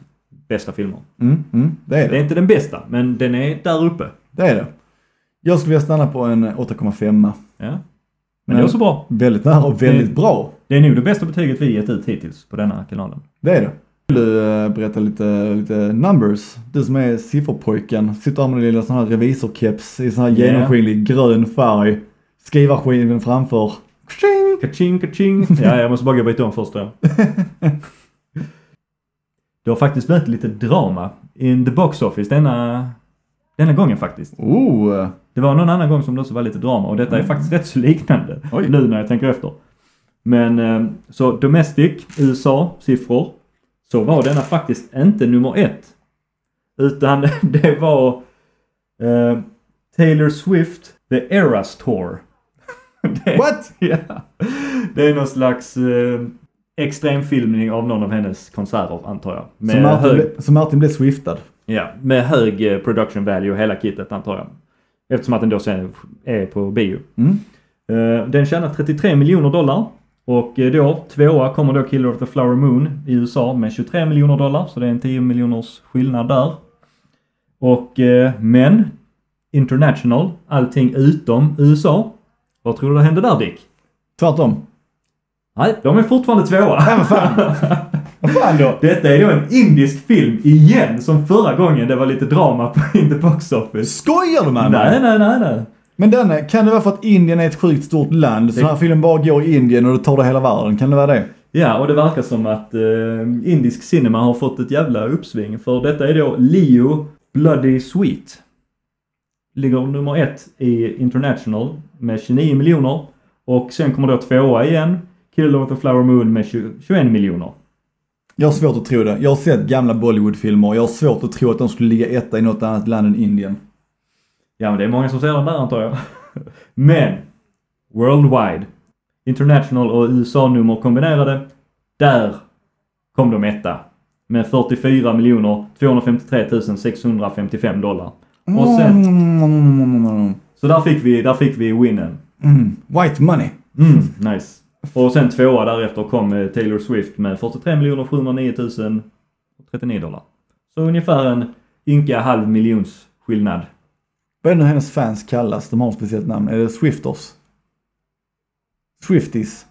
Speaker 1: bästa filmer.
Speaker 2: Mm, mm, det är det.
Speaker 1: Det är inte den bästa, men den är där uppe.
Speaker 2: Det är det. Jag skulle vilja stanna på en eh, 8,5. Men,
Speaker 1: Ja. Men, men det är också bra.
Speaker 2: Väldigt nära och väldigt
Speaker 1: Det-
Speaker 2: bra.
Speaker 1: Det är nog det bästa betyget vi gett ut hittills på denna kanalen.
Speaker 2: Det är det. Vill du eh, berätta lite, lite numbers? Du som är sifferpojken, sitter här med din lilla sån här revisorkeps i sån här
Speaker 1: Yeah.
Speaker 2: genomskinlig grön färg. Skrivarskiven framför. Tjing!
Speaker 1: Kaching, kaching. <laughs> Ja, jag måste bara gå och byta om först då. Det har faktiskt varit lite drama in the box office denna, denna gången faktiskt.
Speaker 2: Oh! eh,
Speaker 1: Det var någon annan gång som det också var lite drama och detta är faktiskt rätt så liknande
Speaker 2: Oj.
Speaker 1: nu när jag tänker efter. Men eh, så domestic, USA-siffror. Så var denna faktiskt inte nummer ett. Utan <laughs> det var eh, Taylor Swift, The Eras Tour. Det- <laughs>
Speaker 2: What?
Speaker 1: Ja. Det är någon slags eh, extremfilmning av någon av hennes konserter antar jag.
Speaker 2: Så
Speaker 1: Med
Speaker 2: Martin,
Speaker 1: hög,
Speaker 2: ble, så Martin blev swiftad.
Speaker 1: ja, med hög eh, production value och hela kittet antar jag. Eftersom att den då sen är på bio.
Speaker 2: Mm.
Speaker 1: Eh, Den tjänar 33 miljoner dollar. Och eh, då, tvåa kommer då Killer of the Flower Moon i USA med 23 miljoner dollar. Så det är en 10 miljoners skillnad där. Och, eh, men, international, allting utom USA. Vad tror du hände där Dick?
Speaker 2: Tvärtom.
Speaker 1: Nej, de är fortfarande tvåa.
Speaker 2: Ja, vad fan. vad fan då?
Speaker 1: Detta är då en indisk film igen, som förra gången det var lite drama på inte Box Office.
Speaker 2: Skojar du med mig?
Speaker 1: Nej, nej, nej, nej.
Speaker 2: Men den, kan det vara för att Indien är ett sjukt stort land? Så den här filmen bara går i Indien och då tar det hela världen. Kan det vara det?
Speaker 1: Ja, och det verkar som att eh, indisk cinema har fått ett jävla uppsving. För detta är då Leo Bloody Sweet. Ligger nummer ett i International med 29 miljoner. Och sen kommer då tvåa igen, Killer of the Flower Moon med 20, 21 miljoner.
Speaker 2: Jag har svårt att tro det. Jag har sett gamla Bollywood-filmer och jag har svårt att tro att de skulle ligga etta i något annat land än Indien.
Speaker 1: Ja, men det är många som ser den där antar jag. <laughs> Men! Worldwide. International och USA-nummer kombinerade. Där kom de etta. Med 44 miljoner 253 655 dollar. Och sen,
Speaker 2: Mm.
Speaker 1: så där fick vi, där fick vi winnen.
Speaker 2: Mm. White money.
Speaker 1: Mm, nice. Och sen tvåa därefter kom eh, Taylor Swift med 43 miljoner 709 039 dollar. Så ungefär en ynka halv miljons skillnad.
Speaker 2: Vad är det nu hennes fans kallas? De har ett speciellt namn. Är det Swifters? Swifties?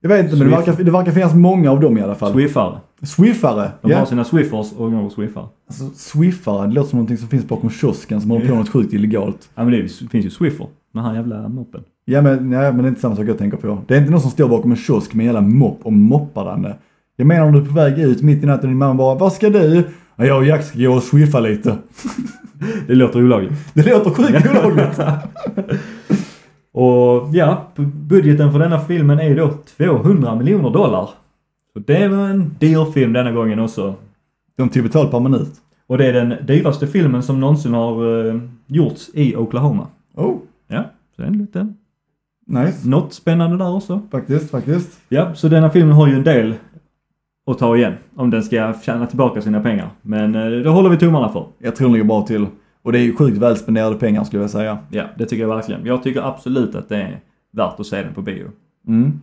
Speaker 2: Jag vet inte, men det
Speaker 1: Swift.
Speaker 2: verkar, det verkar finnas många av dem i alla fall.
Speaker 1: Swiffare.
Speaker 2: Swiffare!
Speaker 1: De
Speaker 2: ja.
Speaker 1: har sina Swiffers och några Swiffare.
Speaker 2: Alltså, Swiffare, det låter som någonting som finns bakom kiosken som håller på med något sjukt illegalt.
Speaker 1: Ja men det är- finns ju Swiffer. Den här jävla moppen.
Speaker 2: Ja men, nej, men det är inte samma sak jag tänker på. Det är inte någon som står bakom en kiosk med en jävla mopp och moppar den. Jag menar om du är på väg ut mitt i natten och din mamma bara Vad ska du? Ja, jag och Jack ska gå och swiffa lite.
Speaker 1: Det låter olagligt.
Speaker 2: Det låter sjukt <laughs> olagligt.
Speaker 1: Och ja, b- budgeten för denna filmen är ju då 200 miljoner dollar. Så det var en dyr film denna gången också.
Speaker 2: De tog betalt per minut.
Speaker 1: Och det är den dyraste filmen som någonsin har eh, gjorts i Oklahoma.
Speaker 2: Oh,
Speaker 1: Ja, så det är en liten...
Speaker 2: nice.
Speaker 1: Något spännande där också.
Speaker 2: Faktiskt, faktiskt.
Speaker 1: Ja, så denna filmen har ju en del att ta igen. Om den ska tjäna tillbaka sina pengar. Men eh, det håller vi tummarna för.
Speaker 2: Jag tror den ligger bra till. Och det är ju sjukt väl spenderade pengar skulle jag säga.
Speaker 1: Ja, det tycker jag verkligen. Jag tycker absolut att det är värt att se den på bio.
Speaker 2: Mm.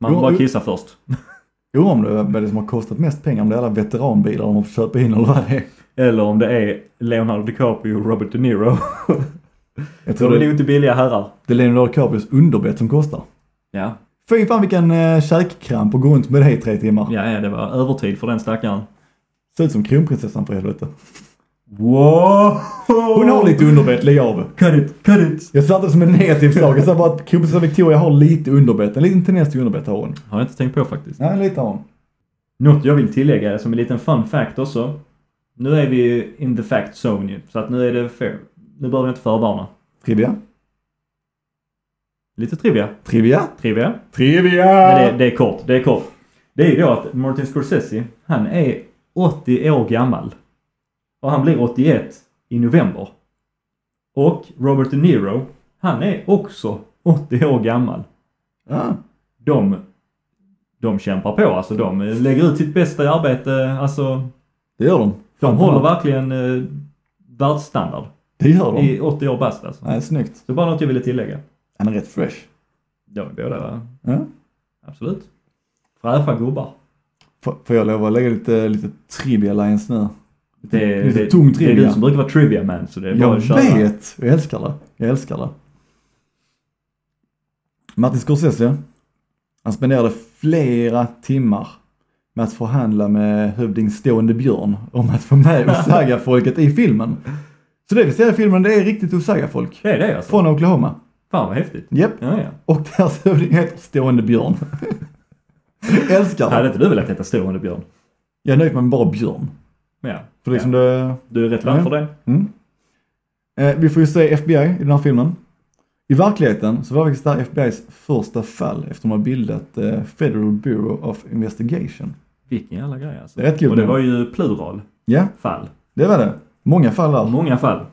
Speaker 1: Man får
Speaker 2: Jo,
Speaker 1: bara
Speaker 2: jo.
Speaker 1: kissa först.
Speaker 2: Undrar om det är vad det som har kostat mest pengar, om det är alla veteranbilar de har fått köpa in eller vad det är.
Speaker 1: Eller om det är Leonardo DiCaprio och Robert De <laughs> Niro.
Speaker 2: Jag tror
Speaker 1: De är nog
Speaker 2: det,
Speaker 1: inte billiga herrar.
Speaker 2: det är Leonardo DiCaprios underbett som kostar.
Speaker 1: Ja.
Speaker 2: Fy fan vilken eh, käkkramp att gå runt med det i tre timmar.
Speaker 1: ja, ja, det var övertid för den stackaren.
Speaker 2: Ser ut som kronprinsessan för helvete.
Speaker 1: Wow!
Speaker 2: Hon har lite underbett, lägg av.
Speaker 1: Cut it, cut it!
Speaker 2: Jag satte det som en negativ sak, jag sa bara att kronprinsessan Victoria har lite underbett. En liten tendens till underbett har hon.
Speaker 1: Har jag inte tänkt på faktiskt.
Speaker 2: Nej, lite har hon.
Speaker 1: Något jag vill tillägga som en liten fun fact också. Nu är vi ju in the fact zone ju, så att nu är det fair. Nu behöver jag inte förvarna.
Speaker 2: Trivia?
Speaker 1: Lite trivia.
Speaker 2: Trivia?
Speaker 1: Trivia.
Speaker 2: Trivia!
Speaker 1: Men det, det är kort, det är kort. Det är ju då att Martin Scorsese, han är 80 år gammal. Och han blir 81 i november. Och Robert De Niro, han är också 80 år gammal.
Speaker 2: Ah,
Speaker 1: De, de kämpar på alltså. De lägger ut sitt bästa arbete. Alltså,
Speaker 2: det gör de.
Speaker 1: de håller verkligen eh, världsstandard.
Speaker 2: Det gör de.
Speaker 1: I 80 år bast alltså.
Speaker 2: Nej, snyggt.
Speaker 1: Så bara något jag ville tillägga.
Speaker 2: Han är rätt fresh.
Speaker 1: Ja, vi båda, va?
Speaker 2: Ja.
Speaker 1: absolut. Fräscha gubbar.
Speaker 2: F- får jag lov att lägga lite, lite trivia lines nu?
Speaker 1: Det,
Speaker 2: Lite
Speaker 1: det,
Speaker 2: tung
Speaker 1: det är
Speaker 2: trivia.
Speaker 1: du som brukar vara trivia man, så det är bara
Speaker 2: Jag
Speaker 1: att köra.
Speaker 2: vet! Jag älskar det. Jag älskar det. Martin Scorsese, han spenderade flera timmar med att förhandla med hövding Stående Björn om att få med Osaga-folket i filmen. Så det vi ser i filmen, det är riktigt Osaga-folk.
Speaker 1: Det är det alltså?
Speaker 2: Från Oklahoma.
Speaker 1: Fan vad häftigt.
Speaker 2: Japp.
Speaker 1: Ja, ja.
Speaker 2: Och deras hövding heter Stående Björn. <laughs> Älskar
Speaker 1: Hade
Speaker 2: det.
Speaker 1: inte du velat heta Stående Björn?
Speaker 2: Jag är nöjd med bara Björn.
Speaker 1: Ja.
Speaker 2: För liksom det...
Speaker 1: Du är rätt land
Speaker 2: Ja.
Speaker 1: för det.
Speaker 2: Mm. Eh, vi får ju se FBI i den här filmen. I verkligheten så var faktiskt det här FBI's första fall efter de har bildat eh, Federal Bureau of Investigation.
Speaker 1: Vilken jävla grej alltså.
Speaker 2: Det är rätt kul
Speaker 1: Och det
Speaker 2: nu.
Speaker 1: var ju plural.
Speaker 2: Ja,
Speaker 1: Fall.
Speaker 2: det var det. Många fall där.
Speaker 1: Många fall.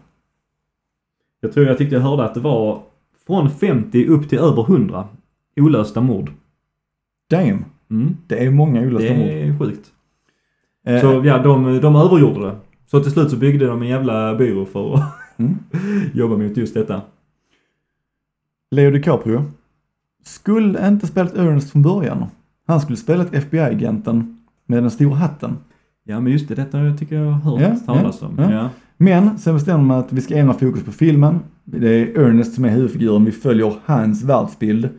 Speaker 1: Jag tror jag tyckte jag hörde att det var från 50 upp till över 100 olösta mord.
Speaker 2: Damn.
Speaker 1: Mm.
Speaker 2: Det är många odlade stamord.
Speaker 1: Det är sjukt.
Speaker 2: Eh,
Speaker 1: Så ja, de, de övergjorde det. Så till slut så byggde de en jävla byrå för att
Speaker 2: Mm.
Speaker 1: <laughs> jobba mot just detta.
Speaker 2: Leo DiCaprio skulle inte spelat Ernst från början. Han skulle spelat FBI-agenten med den stora hatten.
Speaker 1: Ja men just det, detta tycker jag har hört
Speaker 2: Ja,
Speaker 1: talas om. Ja.
Speaker 2: Men sen bestämmer man att vi ska ändra fokus på filmen. Det är Ernest som är huvudfiguren, vi följer hans världsbild.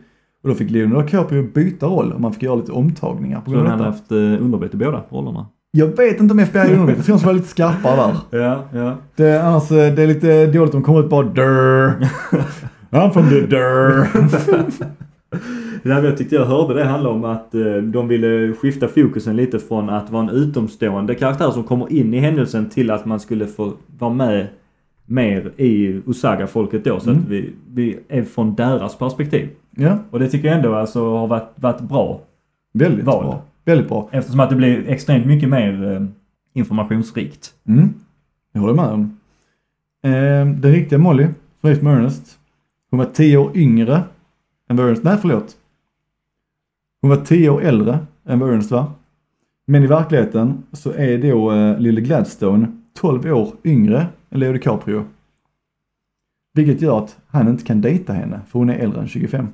Speaker 2: Och då fick Leonardo DiCaprio byta roll och man fick göra lite omtagningar på
Speaker 1: Så
Speaker 2: grund
Speaker 1: han
Speaker 2: av
Speaker 1: hade
Speaker 2: detta.
Speaker 1: haft eh, underbyte i båda rollerna.
Speaker 2: Jag vet inte om FBI är underligt, jag tror de var lite skarpare där.
Speaker 1: Ja, ja.
Speaker 2: Det, annars, eh, det är lite dåligt om de kommer ut bara
Speaker 1: <laughs>
Speaker 2: dörr. I'm from the dörr.
Speaker 1: Nej, men jag tyckte jag hörde det handla om att eh, de ville skifta fokusen lite från att vara en utomstående karaktär som kommer in i händelsen till att man skulle få vara med mer i Osaga-folket då. Så
Speaker 2: Mm.
Speaker 1: att vi, vi är från deras perspektiv.
Speaker 2: Ja,
Speaker 1: Och det tycker jag ändå alltså har varit, varit bra.
Speaker 2: väldigt
Speaker 1: Val.
Speaker 2: bra. Väldigt bra.
Speaker 1: Eftersom att det blir extremt mycket mer eh, informationsrikt. <laughs>
Speaker 2: Mm, det håller jag med om. Eh, den riktiga Molly, som är med Ernest, hon var 10 år yngre än vad Ernest, nej förlåt. Hon var 10 år äldre än vad Ernest var. Men i verkligheten så är då eh, lille Gladstone 12 år yngre än Leo DiCaprio. Vilket gör att han inte kan dejta henne, för hon är äldre än 25.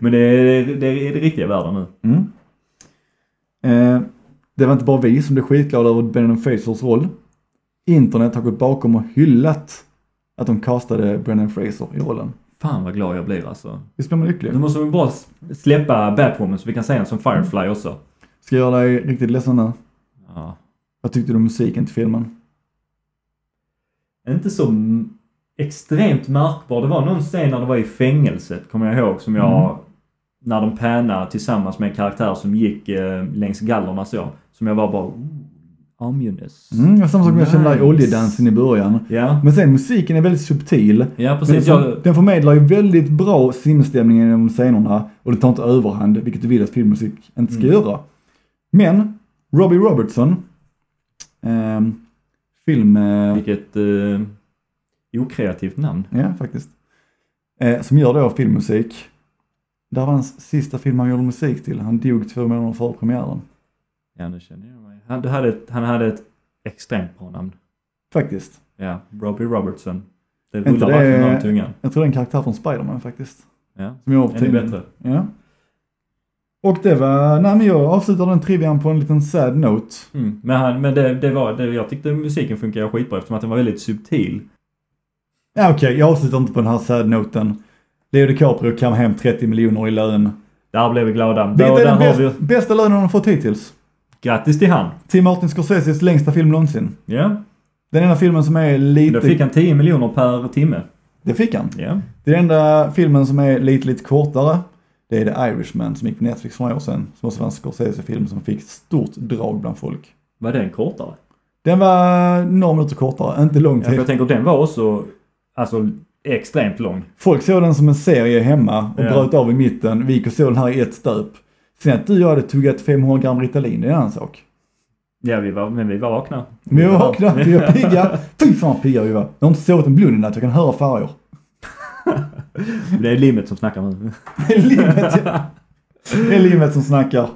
Speaker 1: Men det är, det är det riktiga världen nu.
Speaker 2: Mm. Eh, det var inte bara vi som blev skitglada över Brennan Frasers roll. Internet har gått bakom och hyllat att de castade Brennan Fraser i rollen.
Speaker 1: Fan vad glad jag blir alltså.
Speaker 2: Visst blir man
Speaker 1: Nu
Speaker 2: lycklig?
Speaker 1: måste vi bara s- släppa Batwoman så vi kan säga den som Firefly
Speaker 2: Mm.
Speaker 1: också.
Speaker 2: Ska jag göra dig riktigt ledsen nu?
Speaker 1: Ja.
Speaker 2: Vad tyckte du om musiken till filmen?
Speaker 1: inte så m- extremt märkbar. Det var någon scen när det var i fängelset, kommer jag ihåg, som jag...
Speaker 2: Mm.
Speaker 1: När de pannade tillsammans med en karaktär som gick eh, längs gallerna så. Som jag var bara... "Ooh, Ominous.
Speaker 2: Mm, jag samma sak med jag kände där i
Speaker 1: Nice.
Speaker 2: oljedansen i början.
Speaker 1: Ja.
Speaker 2: Men sen musiken är väldigt subtil.
Speaker 1: ja,
Speaker 2: Men den,
Speaker 1: precis.
Speaker 2: för,
Speaker 1: Alltså, Jag,
Speaker 2: den förmedlar ju väldigt bra sinnesstämningen genom scenerna och det tar inte överhand, vilket du vill att filmmusik inte
Speaker 1: Mm.
Speaker 2: ska göra. Men Robbie Robertson, ehm, film, eh,
Speaker 1: vilket eh, okreativt namn.
Speaker 2: ja faktiskt, eh, som gör då filmmusik. Det här var hans sista film han gjorde musik till. Han dog två månader före premiären.
Speaker 1: Ja, nu känner jag mig. Han, du hade ett, han hade ett extremt bra namn.
Speaker 2: Faktiskt.
Speaker 1: Ja, Robbie Robertson. Det
Speaker 2: Inte
Speaker 1: rullar
Speaker 2: det-
Speaker 1: verkligen om tungan.
Speaker 2: Jag tror det är en karaktär från Spiderman faktiskt.
Speaker 1: Ja,
Speaker 2: Som jag har på
Speaker 1: ännu
Speaker 2: tidningen.
Speaker 1: bättre.
Speaker 2: Ja. Och det var, nej men jag avslutar den trivian på en liten sad note.
Speaker 1: Mm. Men, han, men det, det var, det, jag tyckte musiken funkade skitbra eftersom att den var väldigt subtil.
Speaker 2: Ja, Okej, jag avslutar inte på den här sad-noten. Leo DiCaprio kan hem 30 miljoner i lön.
Speaker 1: Där blev vi glada. Då,
Speaker 2: Vilket är
Speaker 1: där
Speaker 2: den
Speaker 1: har
Speaker 2: bäst,
Speaker 1: vi...
Speaker 2: bästa lönen de fått hittills.
Speaker 1: Grattis till han!
Speaker 2: Tim Martin Scorseses längsta film någonsin.
Speaker 1: Ja.
Speaker 2: Den enda filmen som är lite...
Speaker 1: Då fick han 10 miljoner per timme.
Speaker 2: Det fick han.
Speaker 1: Ja.
Speaker 2: Det är den enda filmen som är lite, lite kortare. Det är The Irishman som gick på Netflix för några år sedan. Som också var en Scorsese-film som fick stort drag bland folk.
Speaker 1: Var den kortare?
Speaker 2: Den var några minuter kortare, inte lång
Speaker 1: Ja, för
Speaker 2: tid.
Speaker 1: jag tänker den var också alltså, extremt lång.
Speaker 2: Folk såg den som en serie hemma och
Speaker 1: Ja.
Speaker 2: bröt av i mitten. Vi gick och såg den här i ett stöp. Sen att du och jag hade tuggat 500 gram Ritalin, det är en annan sak.
Speaker 1: Ja, vi var, men vi var vakna.
Speaker 2: Men jag vaknade, vi var pigga. Fy fan vad pigga vi var. Jag har inte sovit en blund i natt, jag kan höra färger.
Speaker 1: Det är limmet som snackar nu.
Speaker 2: Det är livet, ja. det är livet som snackar.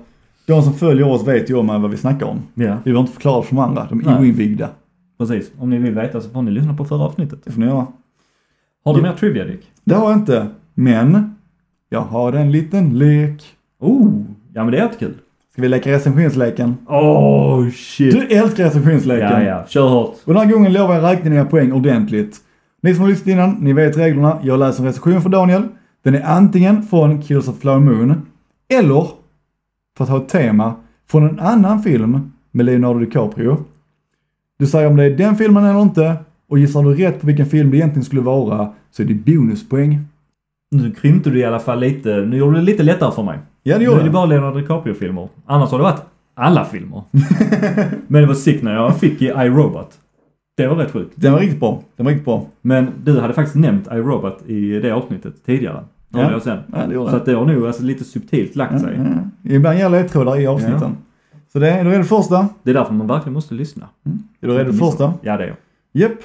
Speaker 2: De som följer oss vet ju om vad vi snackar om.
Speaker 1: Ja,
Speaker 2: Vi behöver inte förklara för de andra, de är
Speaker 1: Nej.
Speaker 2: oinvigda.
Speaker 1: precis. Om ni vill veta så får ni lyssna på förra avsnittet.
Speaker 2: Det får ni göra.
Speaker 1: Har du mer trivia Dick?
Speaker 2: Det har jag inte, men jag har en liten lek.
Speaker 1: Oh! Ja men det är jättekul.
Speaker 2: Ska vi leka recensionsleken?
Speaker 1: Oh shit!
Speaker 2: Du älskar recensionsleken!
Speaker 1: ja, ja. Kör hårt.
Speaker 2: Och den här gången lovar jag räkna dina poäng ordentligt. Ni som har lyssnat innan, ni vet reglerna. Jag läser en recension för Daniel. Den är antingen från Kills of Flower Moon, eller, för att ha ett tema, från en annan film med Leonardo DiCaprio. Du säger om det är den filmen eller inte, och gissar du rätt på vilken film det egentligen skulle vara, så är det bonuspoäng.
Speaker 1: Nu krympte du i alla fall lite. Nu gjorde du det lite lättare för mig.
Speaker 2: Ja, det
Speaker 1: Nu är
Speaker 2: gjorde
Speaker 1: det
Speaker 2: jag.
Speaker 1: bara Leonardo DiCaprio-filmer. Annars har det varit alla filmer. <laughs> Men det var sick när jag fick i iRobot. Det var rätt sjukt.
Speaker 2: Den var riktigt bra. Den var riktigt bra.
Speaker 1: Men du hade faktiskt nämnt iRobot i det avsnittet tidigare.
Speaker 2: Ja. Mm.
Speaker 1: Hörde jag sen.
Speaker 2: Ja, det gjorde
Speaker 1: Så att det har nog alltså lite subtilt lagt sig.
Speaker 2: den. Ibland gäller ledtrådar i avsnitten. Så det, är du redo för första?
Speaker 1: Det är därför man verkligen måste lyssna.
Speaker 2: Är du redo för första?
Speaker 1: Ja, det är jag.
Speaker 2: Japp.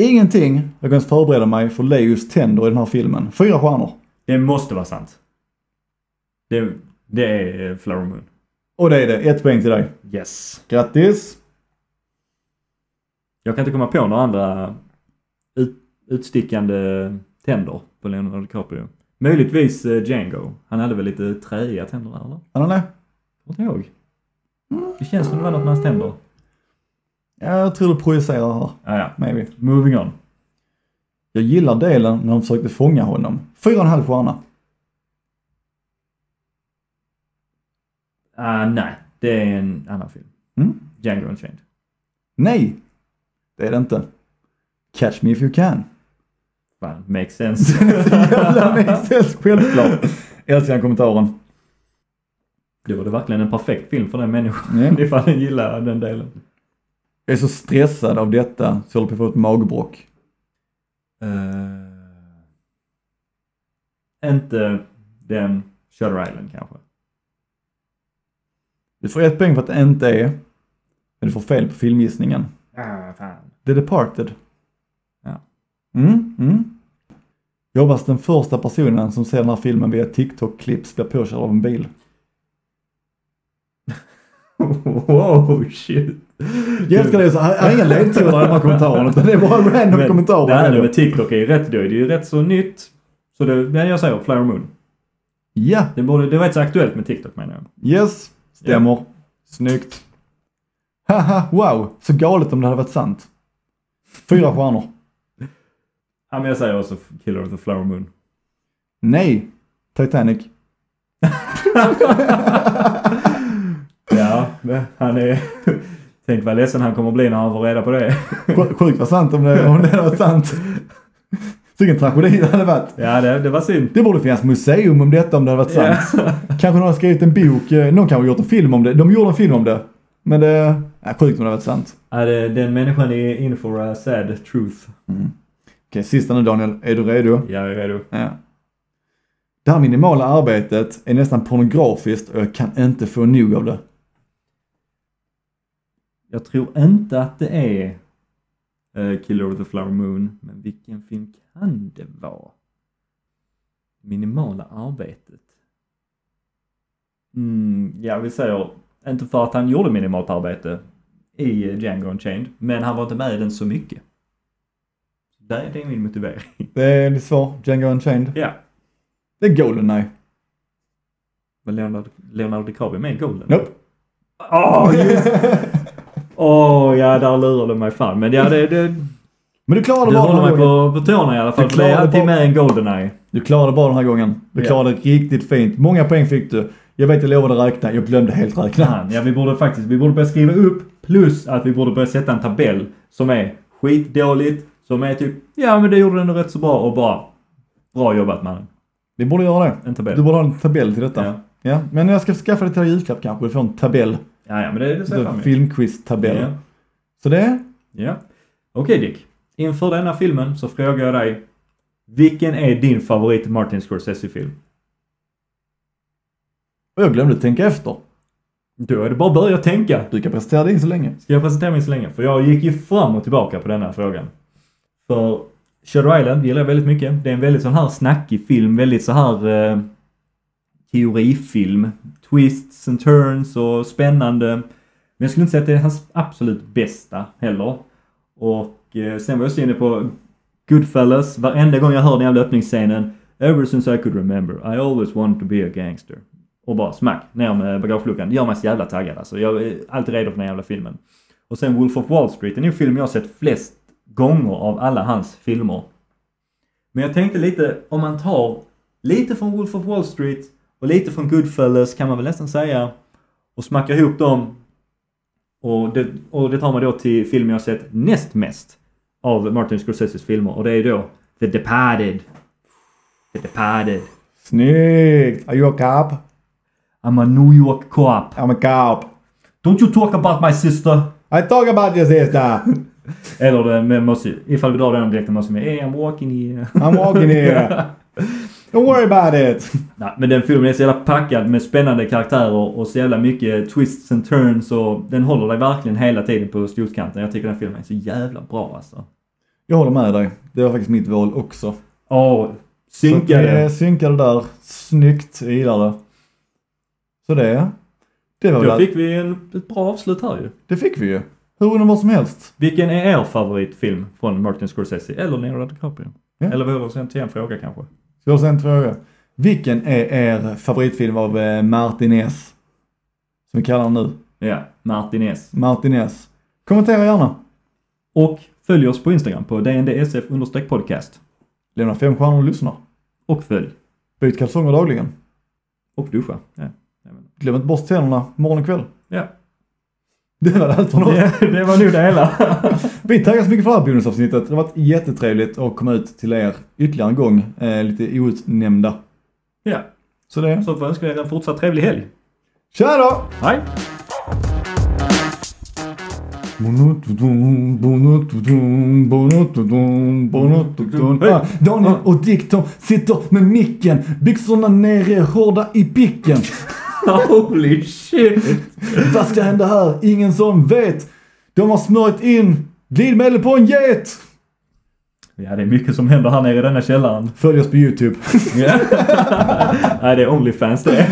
Speaker 2: Ingenting jag kan förbereda mig för Leos tänder i den här filmen. Fyra stjärnor.
Speaker 1: Det måste vara sant. Det, det är eh, Flower Moon.
Speaker 2: Och det är det. Ett poäng till dig.
Speaker 1: Yes.
Speaker 2: Grattis!
Speaker 1: Jag kan inte komma på några andra ut, utstickande tänder på Leonardo DiCaprio. Möjligtvis eh, Django. Han hade väl lite träiga tänder där eller?
Speaker 2: Eller nej?
Speaker 1: Kommer inte ihåg. Det känns som det var något med hans tänder.
Speaker 2: Ja, Jag tror du projicerar här.
Speaker 1: Ah, ja.
Speaker 2: Maybe.
Speaker 1: Moving on.
Speaker 2: Jag gillar delen när de försökte fånga honom. Fyra och en halv stjärna.
Speaker 1: Ah, nej, det är en annan film.
Speaker 2: Mm.
Speaker 1: Django Unchained.
Speaker 2: Nej! Det är det inte. Catch me if you can. <laughs>
Speaker 1: Fan, makes sense. <laughs>
Speaker 2: Jävla mixels, självklart. Älskar den kommentaren.
Speaker 1: det var det verkligen en perfekt film för den människan. <laughs>
Speaker 2: Ja.
Speaker 1: Ifall den gillar den delen.
Speaker 2: Jag är så stressad av detta så jag håller på att få ett magbråck.
Speaker 1: Eh, inte den Shutter Island kanske.
Speaker 2: Du får ett poäng för att det inte är, men du får fel på filmgissningen.
Speaker 1: Ah, fan.
Speaker 2: The Departed.
Speaker 1: Ja.
Speaker 2: Mm, mm. Jag hoppas den första personen som ser den här filmen via TikTok-klipps blir påkörd av en bil.
Speaker 1: <laughs> wow, shit.
Speaker 2: Jag älskar det, så här här är inga ledtrådar i de här kommentarerna utan det är bara random
Speaker 1: Men
Speaker 2: kommentarer.
Speaker 1: Det här med TikTok är ju rätt då. Det är ju rätt så nytt. Så det, men jag säger Flower Moon.
Speaker 2: Ja,
Speaker 1: Det, borde, det var inte så aktuellt med TikTok menar jag.
Speaker 2: yes, stämmer. Snyggt. Haha, wow, så galet om det hade varit sant. Fyra stjärnor.
Speaker 1: Ja, men jag säger också Killer of the Flower Moon.
Speaker 2: Nej, Titanic.
Speaker 1: Ja, han är... <laughs> Tänk vad ledsen han kommer bli när han får reda på det.
Speaker 2: Sj- Sjukt vad sant om det, om det hade varit sant. Vilken tragedi det hade varit.
Speaker 1: <laughs> Ja, det, det var synd.
Speaker 2: Det borde finnas museum om detta om det hade varit sant. Kanske någon har skrivit en bok, eh, någon kanske gjort en film om det. De gjorde en film om det. Men det, ja, sjukt om det hade varit sant.
Speaker 1: Ja, det, den människan är in for a sad truth.
Speaker 2: Okej, sista nu Daniel. Är du redo?
Speaker 1: Jag är redo.
Speaker 2: Ja. Det här minimala arbetet är nästan pornografiskt och jag kan inte få nog av det.
Speaker 1: Jag tror inte att det är eh, Killer of the Flower Moon, men vilken film kan det vara? Minimala arbetet. Mm, ja, vi säger inte för att han gjorde minimalt arbete i eh, Django Unchained, men han var inte med i den så mycket. Det, det är min motivering.
Speaker 2: Det är ditt svar, Django Unchained.
Speaker 1: Ja,
Speaker 2: Det är Goldeneye.
Speaker 1: men Leonardo, Leonardo DiCaprio med i Golden?
Speaker 2: Nope.
Speaker 1: Åh, just- Åh, ja, där lurar du mig fan. Men ja, det, det,
Speaker 2: Men du klarade
Speaker 1: Du
Speaker 2: bara den
Speaker 1: håller
Speaker 2: här
Speaker 1: mig
Speaker 2: gången.
Speaker 1: på, på tårna i alla fall.
Speaker 2: Du
Speaker 1: För det är
Speaker 2: klarar
Speaker 1: alltid
Speaker 2: på-
Speaker 1: med en Goldeneye.
Speaker 2: Du klarade bara den här gången. Du
Speaker 1: Ja.
Speaker 2: klarade riktigt fint. Många poäng fick du. Jag vet jag lovade räkna, jag glömde helt räkna.
Speaker 1: Fan, ja vi borde faktiskt, vi borde börja skriva upp plus att vi borde börja sätta en tabell som är skitdåligt, som är typ ja men det gjorde den rätt så bra och bara bra jobbat mannen.
Speaker 2: Vi borde göra det.
Speaker 1: En
Speaker 2: Du
Speaker 1: tabell.
Speaker 2: borde ha en tabell till detta.
Speaker 1: Ja.
Speaker 2: Ja. Men jag ska skaffa det till dig i julklapp kanske. Du får en tabell.
Speaker 1: Ja, ja men det, det ser jag fram emot.
Speaker 2: Filmquiz-tabell.
Speaker 1: Ja.
Speaker 2: Så det,
Speaker 1: ja. Okej Dick. Inför denna filmen så frågar jag dig vilken är din favorit Martin Scorsese-film?
Speaker 2: och jag glömde tänka efter.
Speaker 1: Då är det bara att börja tänka.
Speaker 2: Du kan presentera din så länge.
Speaker 1: Ska jag presentera mig så länge? För jag gick ju fram och tillbaka på den här frågan. För Shutter Island gillar jag väldigt mycket. Det är en väldigt sån här snackig film, väldigt så här eh, teorifilm. Twists and turns och spännande. Men jag skulle inte säga att det är hans absolut bästa heller. Och eh, sen var jag så inne på Goodfellas. Varenda gång jag hör den jävla öppningsscenen. Ever since I could remember, I always wanted to be a gangster. Och bara smack, ner med bagageluckan. Det gör mig så jävla taggad alltså. Jag är alltid redo för den här jävla filmen. Och sen Wolf of Wall Street, den är en film jag har sett flest gånger av alla hans filmer. Men jag tänkte lite, om man tar lite från Wolf of Wall Street och lite från Goodfellas kan man väl nästan säga. Och smackar ihop dem. Och det, och det tar man då till filmen jag har sett näst mest av Martin Scorseses filmer. Och det är då The Departed. The Departed.
Speaker 2: Snyggt! Are you a cop?
Speaker 1: I'm a New York cop.
Speaker 2: I'm a cop.
Speaker 1: Don't you talk about my sister!
Speaker 2: I talk about your sister!
Speaker 1: Eller det med Mossy. Ifall vi drar den direkt med Mossy med hey, I'm walking here.
Speaker 2: I'm walking here! Don't worry about it!
Speaker 1: <laughs> Nej, men den filmen är så jävla packad med spännande karaktärer och så jävla mycket twists and turns och den håller dig verkligen hela tiden på stolskanten. Jag tycker den filmen är så jävla bra alltså.
Speaker 2: Jag håller med dig. Det var faktiskt mitt val också.
Speaker 1: Åh,
Speaker 2: Så att vi, eh,
Speaker 1: synkade.
Speaker 2: Synkade där. Snyggt. Jag gillar det. Så det, det var
Speaker 1: Då
Speaker 2: väl
Speaker 1: fick vi en, ett bra avslut här ju.
Speaker 2: Det fick vi ju. Hur undrar vad som helst.
Speaker 1: Vilken är er favoritfilm från Martin Scorsese eller Leonardo DiCaprio?
Speaker 2: Ja.
Speaker 1: Eller vi håller oss till en fråga kanske.
Speaker 2: Så jag har en fråga. Vilken är er favoritfilm av eh, Martin S? Som vi kallar honom nu.
Speaker 1: Ja, Martin S.
Speaker 2: Martin S. Kommentera gärna.
Speaker 1: Och följ oss på Instagram på dndsf podcast.
Speaker 2: Lämna fem stjärnor och lyssna.
Speaker 1: Och följ.
Speaker 2: Byt kalsonger dagligen.
Speaker 1: Och duscha. Ja,
Speaker 2: Glöm inte borsta tänderna morgon och kväll.
Speaker 1: ja.
Speaker 2: Det var
Speaker 1: <laughs>
Speaker 2: allt från oss.
Speaker 1: det, det var nog det
Speaker 2: <laughs>
Speaker 1: hela.
Speaker 2: Vi tackar så mycket för det här bonusavsnittet. Det har varit jättetrevligt att komma ut till er ytterligare en gång. Eh, lite outnämnda.
Speaker 1: ja,
Speaker 2: Så det.
Speaker 1: så får jag önska er en fortsatt trevlig helg.
Speaker 2: Tja då!
Speaker 1: Hej!
Speaker 2: Ah, Daniel och Dick Tom sitter med micken, byxorna nere, hårda i picken.
Speaker 1: Holy shit!
Speaker 2: Vad ska hända här? Ingen som vet. De har smörjt in glidmedel på en get.
Speaker 1: Ja, det är mycket som händer här nere i denna <laughs> källaren.
Speaker 2: Följ oss på YouTube.
Speaker 1: Ja. Nej, det är Onlyfans det.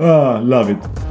Speaker 2: Ah, love it.